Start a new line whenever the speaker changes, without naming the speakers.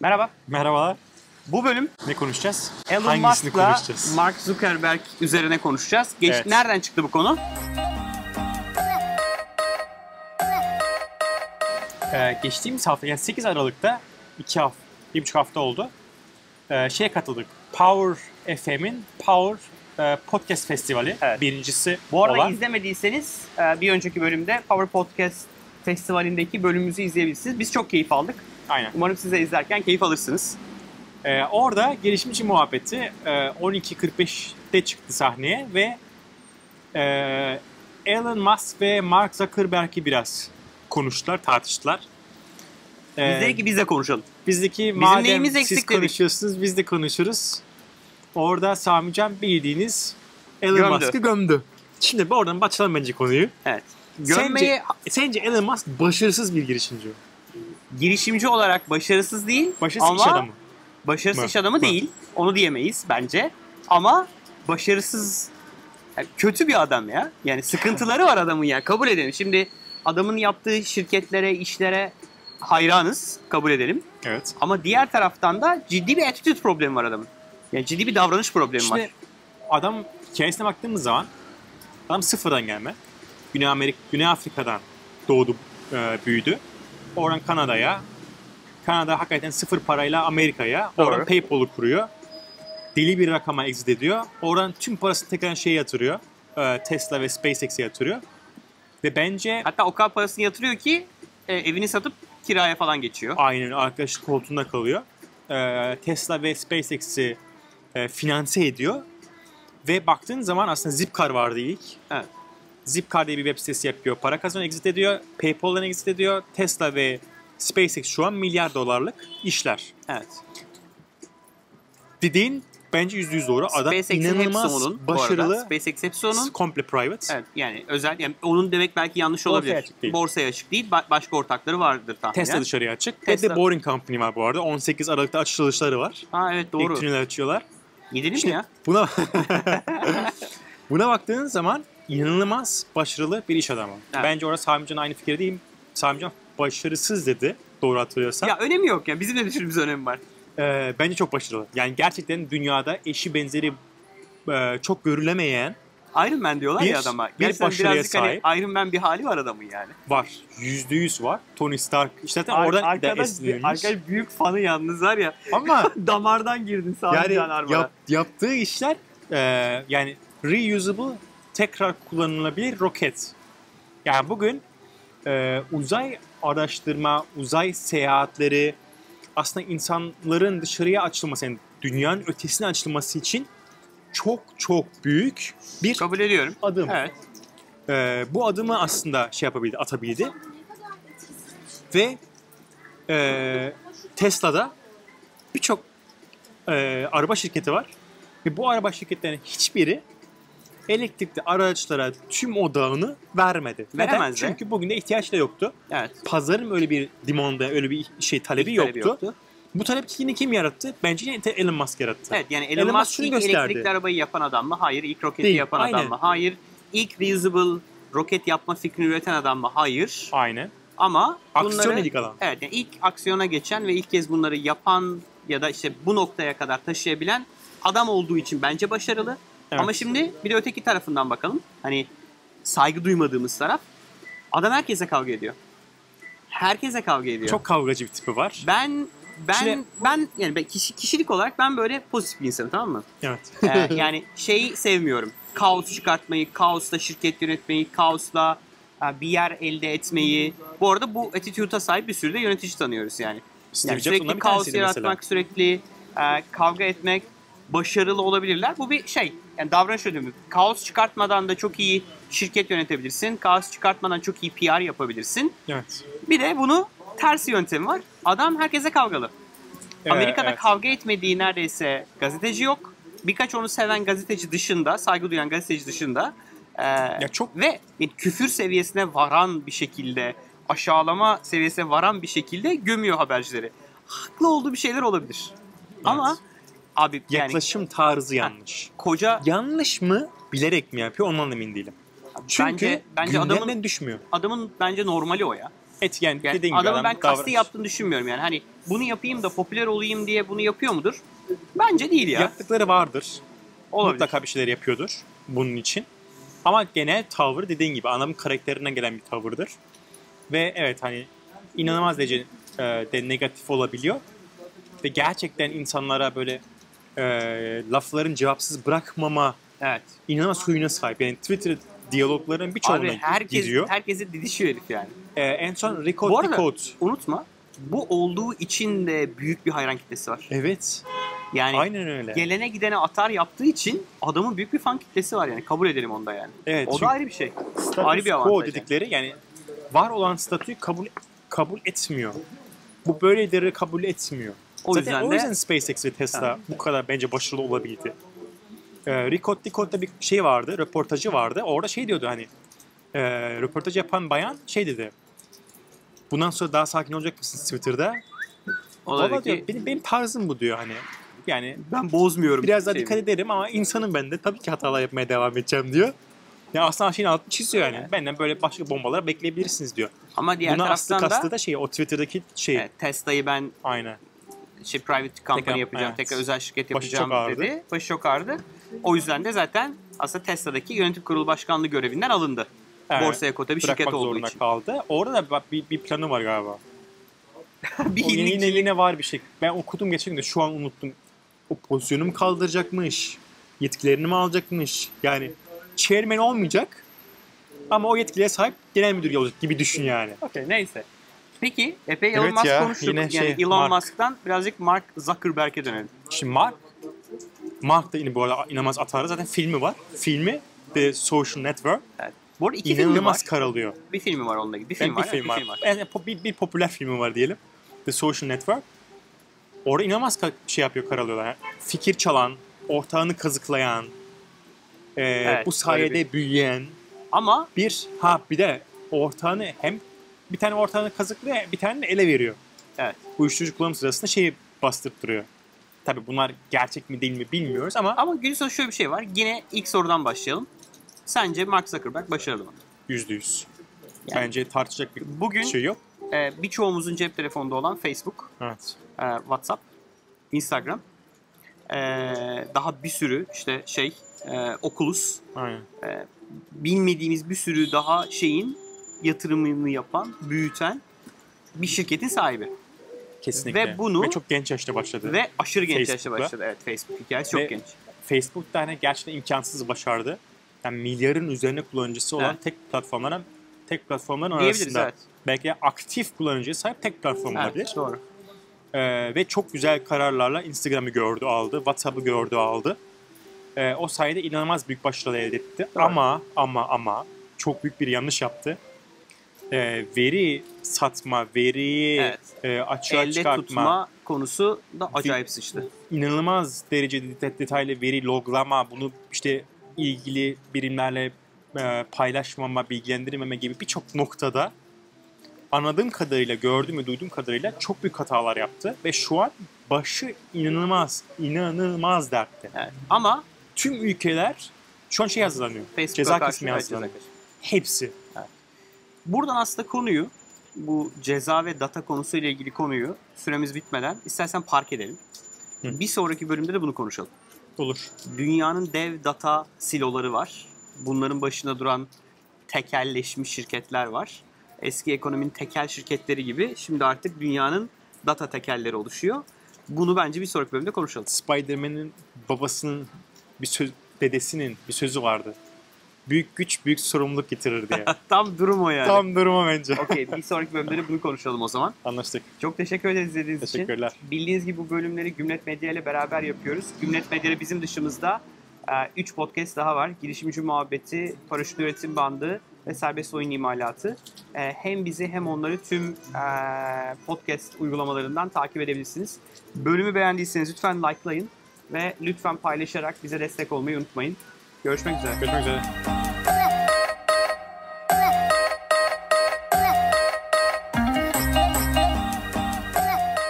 Merhaba.
Merhabalar.
Bu bölüm
Ne konuşacağız?
Elon
Hangisini
Musk'la
konuşacağız?
Mark Zuckerberg üzerine konuşacağız. Geç,
Evet.
Nereden çıktı bu konu?
Ee, geçtiğimiz hafta, yani 8 Aralık'ta 2 hafta, 1,5 hafta oldu. Ee, şeye katıldık. Power FM'in Power e, Podcast Festivali
Evet.
birincisi
Bu arada
olan.
izlemediyseniz e, bir önceki bölümde Power Podcast Festivali'ndeki bölümümüzü izleyebilirsiniz. Biz çok keyif aldık.
Aynen.
Umarım siz de izlerken keyif alırsınız.
Ee, orada gelişimci muhabbeti e, 12.45'te çıktı sahneye ve e, Elon Musk ve Mark Zuckerberg'i biraz konuştular, tartıştılar. Ee,
Biz dedik ki biz de konuşalım.
Bizdeki
Bizim
madem
neyimiz
siz
eksik dedik.
konuşuyorsunuz biz de konuşuruz. Orada Sami Can bildiğiniz Elon
Gömdü.
Musk'ı gömdü. Şimdi bir oradan başlayalım bence konuyu.
Evet. Gömmeyi
Sence, sence Elon Musk başarısız bir girişimci mi?
girişimci olarak başarısız değil.
Başarısız
ama
iş adamı.
Başarısız
Mı?
iş adamı
Mı?
değil. Onu diyemeyiz bence. Ama başarısız yani kötü bir adam ya. Yani sıkıntıları var adamın ya. Kabul edelim. Şimdi adamın yaptığı şirketlere, işlere hayranız. Kabul edelim.
Evet.
Ama diğer taraftan da ciddi bir attitude problemi var adamın. Yani ciddi bir davranış problemi var.
Şimdi adam hikayesine baktığımız zaman adam sıfırdan gelme. Güney, Amerika, Güney Afrika'dan doğdu, e, büyüdü. Oradan Kanada'ya. Kanada hakikaten sıfır parayla Amerika'ya. Oradan
Doğru.
PayPal'u kuruyor. Deli bir rakama exit ediyor. Oradan tüm parasını tekrar şeye yatırıyor. E, Tesla ve SpaceX'e yatırıyor. Ve bence
Hatta o kadar parasını yatırıyor ki e, evini satıp kiraya falan geçiyor.
aynen arkadaş koltuğunda kalıyor. Ee, Tesla ve SpaceX'i e, finanse ediyor. Ve baktığın zaman aslında Zipcar vardı ilk.
Evet.
Zipcar diye bir web sitesi yapıyor. Para kazanıyor, exit ediyor. PayPal'dan exit ediyor. Tesla ve SpaceX şu an milyar dolarlık işler.
Evet.
Dediğin bence yüzde yüz doğru. Adam
SpaceX'in hepsi
inanılmaz
onun. bu arada.
başarılı,
SpaceX hepsi onun.
komple private.
Evet yani özel yani onun demek belki yanlış
Borsaya
olabilir.
açık değil.
Borsaya açık değil. ba- başka ortakları vardır tahminen.
Tesla dışarıya açık. Ve
Tesla-
The Boring Company var bu arada. 18 Aralık'ta açılışları var.
Ha evet
Doğru. İlk
doğru.
tüneli açıyorlar.
Yedili mi
İşte
ya?
Buna buna baktığın zaman inanılmaz başarılı bir iş adamı.
Evet.
Bence orada Sami Can aynı fikirde değil. Sami Can başarısız dedi doğru hatırlıyorsam.
Ya önemi yok ya. Bizim de düşündüğümüz önemi var.
Ee, bence çok başarılı. Yani gerçekten dünyada eşi benzeri e, çok görülemeyen
Iron Man diyorlar
Bir-
ya adama.
bir
Gerçekten
başarıya
birazcık hani Iron Man bir hali var adamın yani.
var. Yüzde yüz var. Tony Stark. İşte zaten oradan da
arkadaş,
esinlenmiş.
arkadaş büyük fanı yalnız var ya.
Ama
Damardan girdin sağ
yani
can armara.
yap- yaptığı işler e, yani reusable tekrar kullanılabilir roket. Yani bugün e, uzay araştırma, uzay seyahatleri aslında insanların dışarıya açılması, yani dünyanın ötesine açılması için çok çok büyük bir
Kabul ediyorum.
adım.
Evet.
E, bu adımı aslında şey yapabildi, atabildi. Ve e, Tesla'da birçok e, araba şirketi var. Ve bu araba şirketlerinin hiçbiri elektrikli araçlara tüm odağını vermedi. Neden?
Veremez de.
Çünkü bugün de ihtiyaç da yoktu.
Evet.
Pazarın öyle bir demanda, öyle bir şey talebi,
Talebi
yoktu. Bu talebi yine kim yarattı? Bence yine te- Elon Musk yarattı.
Evet yani Elon,
Elon Musk
Musk
şunu
ilk
gösterdi.
elektrikli arabayı yapan adam mı? Hayır. İlk roketi
Değil,
yapan
aynen.
adam mı? Hayır. İlk reusable roket yapma fikrini üreten adam mı? Hayır.
Aynen.
Ama
Aksiyon
bunları
ilk alan.
Evet yani ilk aksiyona geçen ve ilk kez bunları yapan ya da işte bu noktaya kadar taşıyabilen adam olduğu için bence başarılı.
Evet.
Ama şimdi bir de öteki tarafından bakalım. Hani saygı duymadığımız taraf. Adam herkese kavga ediyor. Herkese kavga ediyor.
Çok kavgacı bir tipi var.
Ben ben
Şimdi-
ben yani ben kişi, kişilik olarak ben böyle pozitif bir insanım tamam mı?
Evet.
Ee, yani şeyi sevmiyorum. Kaos çıkartmayı, kaosla şirket yönetmeyi, kaosla e, bir yer elde etmeyi. Bu arada bu attitude'a sahip bir sürü de yönetici tanıyoruz yani.
Steve
Yani
Jobs
sürekli
ondan bir
kaos
tanesiydi mesela.
yaratmak, sürekli e, kavga etmek, başarılı olabilirler. Bu bir şey, yani davranış ödümü. Kaos çıkartmadan da çok iyi şirket yönetebilirsin. Kaos çıkartmadan çok iyi PR yapabilirsin.
Evet.
Bir de bunu tersi yöntemi var. Adam herkese kavgalı.
Ee,
Amerika'da
evet.
kavga etmediği neredeyse gazeteci yok. Birkaç onu seven gazeteci dışında, saygı duyan gazeteci dışında e,
Ya çok-
ve yani küfür seviyesine varan bir şekilde, aşağılama seviyesine varan bir şekilde gömüyor habercileri. Haklı olduğu bir şeyler olabilir. Ama abi yani
yaklaşım tarzı yanlış.
koca
yanlış mı bilerek mi yapıyor ondan da emin değilim. Çünkü
bence bence adamın
düşmüyor.
adamın bence normali o ya.
Etken
Yani
dediğin gibi
adamı
adam
ben kasti
davranış.
yaptığını düşünmüyorum yani. Hani bunu yapayım da popüler olayım diye bunu yapıyor mudur? Bence değil ya.
Yaptıkları vardır.
Olabilir.
Mutlaka bir şeyler yapıyordur bunun için. Ama gene tavrı dediğin gibi adamın karakterine gelen bir tavırdır. Ve evet hani inanılmaz derece e, de negatif olabiliyor. Ve gerçekten insanlara böyle e, lafların cevapsız bırakmama
Evet.
inanılmaz huyuna sahip. Yani Twitter diyalogların birçoğuna
Abi herkes,
giriyor.
herkese didişiyor herif yani.
E, en son
Bu
Record
arada-
Record.
Unutma bu olduğu için de büyük bir hayran kitlesi var.
Evet.
Yani
Aynen öyle.
gelene gidene atar yaptığı için adamın büyük bir fan kitlesi var yani. Kabul edelim onu da yani.
Evet.
o
çünkü-
da ayrı bir şey.
status
Ayrı bir
quo
avantaj
dedikleri yani var olan statüyü kabul kabul etmiyor. Bu böyleleri kabul etmiyor.
O
Zaten
yüzden
o
de
yüzden SpaceX ve Tesla
Ha.
bu kadar bence başarılı olabildi. Ee, Ricot Dicot'ta bir şey vardı, röportajı vardı. Orada şey diyordu hani, e, röportaj yapan bayan şey dedi. Bundan sonra daha sakin olacak mısınız Twitter'da?
o da
Valla
dedi
diyor,
ki,
benim, benim tarzım bu diyor hani. Yani
ben bozmuyorum.
biraz daha
şeyimi.
dikkat ederim ama insanım ben de tabii ki hatalar yapmaya devam edeceğim diyor. Ya aslında şeyin altını çiziyor yani. Benden böyle başka bombalar bekleyebilirsiniz diyor.
Ama diğer
Buna aslı
taraftan
kastı
da
da şey o Twitter'daki şey
evet, Tesla'yı ben
aynen.
şey private company
Tekrar-
yapacağım,
evet.
tekrar özel şirket
Başı çok
yapacağım
ağrıdı.
dedi. Başı çok ağrıdı. O yüzden de zaten aslında Tesla'daki yönetim kurulu başkanlığı görevinden alındı.
Evet,
Borsaya kota bir şirket
bırakmak
olduğu
zorunda
için.
kaldı. Orada da bak bir, bir planı var galiba.
bir
O yine,
hinlik.
yine, yine var bir şey. Ben okudum geçen gün de şu an unuttum. O pozisyonu mu kaldıracakmış? Yetkilerini mi alacakmış? Yani chairman olmayacak ama o yetkilere sahip genel müdür olacak gibi düşün yani.
Okey, neyse. Peki epey Elon
Evet
Musk
ya,
konuştuk.
yine
yani
şey,
Elon
Mark.
Musk'tan birazcık Mark Zuckerberg'e dönelim.
Şimdi Mark, Mark da yine bu arada inanılmaz atarı. Zaten filmi var. Filmi The Social Network.
Evet. Bu arada iki filmi var.
İnanılmaz karalıyor.
Bir filmi var onunla ilgili. Bir
Yani
film
bir
var.
film
evet,
var.
Bir film var.
Yani po- bir, bir popüler filmi var diyelim. The Social Network. Orada inanılmaz ka- şey yapıyor karalıyorlar. Yani fikir çalan, ortağını kazıklayan, e,
Evet,
bu sayede
öyle
büyüyen
Ama
bir ha bir de ortağını hem bir tane ortağını kazıklıyor bir tane de ele veriyor.
Evet.
Uyuşturucu kullanım sırasında şeyi bastırıp duruyor. Tabii bunlar gerçek mi değil mi bilmiyoruz ama
ama günün sonunda şöyle bir şey var. Yine ilk sorudan başlayalım. Sence Mark Zuckerberg başarılı mı?
Yüzde yüz.
Yani-
Bence tartışacak bir
Bugün
şey yok.
e, birçoğumuzun cep telefonunda olan Facebook,
Evet.
e, WhatsApp, Instagram, e, daha bir sürü işte şey, e, Oculus,
Aynen.
bilmediğimiz bir sürü daha şeyin yatırımını yapan, büyüten bir şirketin sahibi.
Kesinlikle.
Ve bunu-
çok genç yaşta başladı.
Ve aşırı genç yaşta
Facebook'la.
başladı. Evet Facebook hikayesi çok
Ve-
genç.
Facebook da hani gerçekten imkansız başardı. Yani milyarın üzerine kullanıcısı olan
Evet.
tek platformların tek platformların
Diyebiliriz
arasında
evet.
belki de aktif kullanıcıya sahip tek platform olabilir.
evet. Doğru.
Ee, ve çok güzel kararlarla Instagram'ı gördü aldı, WhatsApp'ı gördü aldı. Ee, o sayede inanılmaz büyük başarı elde etti.
Doğru.
Ama ama ama çok büyük bir yanlış yaptı. Ee, veri satma, veriyi
Evet.
e, açığa
Elle
çıkartma,
tutma konusu da acayip sıçtı.
inanılmaz derecede det- detaylı veri loglama, bunu işte ilgili birimlerle e, paylaşmama, bilgilendirmeme gibi birçok noktada anladığım kadarıyla, gördüğüm ve duyduğum kadarıyla çok büyük hatalar yaptı ve şu an başı inanılmaz, inanılmaz dertte.
Evet. Ama
Tüm ülkeler şu an şey hazırlanıyor.
Facebook'a
Ceza
karşı
kesmeye
evet,
hazırlanıyor.
ceza kesmeye.
Hepsi.
Buradan aslında konuyu bu ceza ve data konusuyla ilgili konuyu süremiz bitmeden istersen park edelim.
Hı.
Bir sonraki bölümde de bunu konuşalım.
Olur.
Dünyanın dev data siloları var. Bunların başında duran tekelleşmiş şirketler var. Eski ekonominin tekel şirketleri gibi şimdi artık dünyanın data tekelleri oluşuyor. Bunu bence bir sonraki bölümde konuşalım.
Spider-Man'in babasının bir söz, dedesinin bir sözü vardı. Büyük güç büyük sorumluluk getirir diye.
Tam durum o yani.
Tam duruma bence.
Okey bir sonraki bölümde de bunu konuşalım o zaman.
Anlaştık.
Çok teşekkür ederiz izlediğiniz için.
Teşekkürler.
Bildiğiniz gibi bu bölümleri Gümlet Medya ile beraber yapıyoruz. Gümlet Medya ile bizim dışımızda 3 podcast daha var. Girişimci Muhabbeti, Paraşüt Üretim Bandı ve Serbest Oyun İmalatı. E, hem bizi hem onları tüm e, podcast uygulamalarından takip edebilirsiniz. Bölümü beğendiyseniz lütfen likelayın ve lütfen paylaşarak bize destek olmayı unutmayın. Görüşmek üzere.
Görüşmek üzere.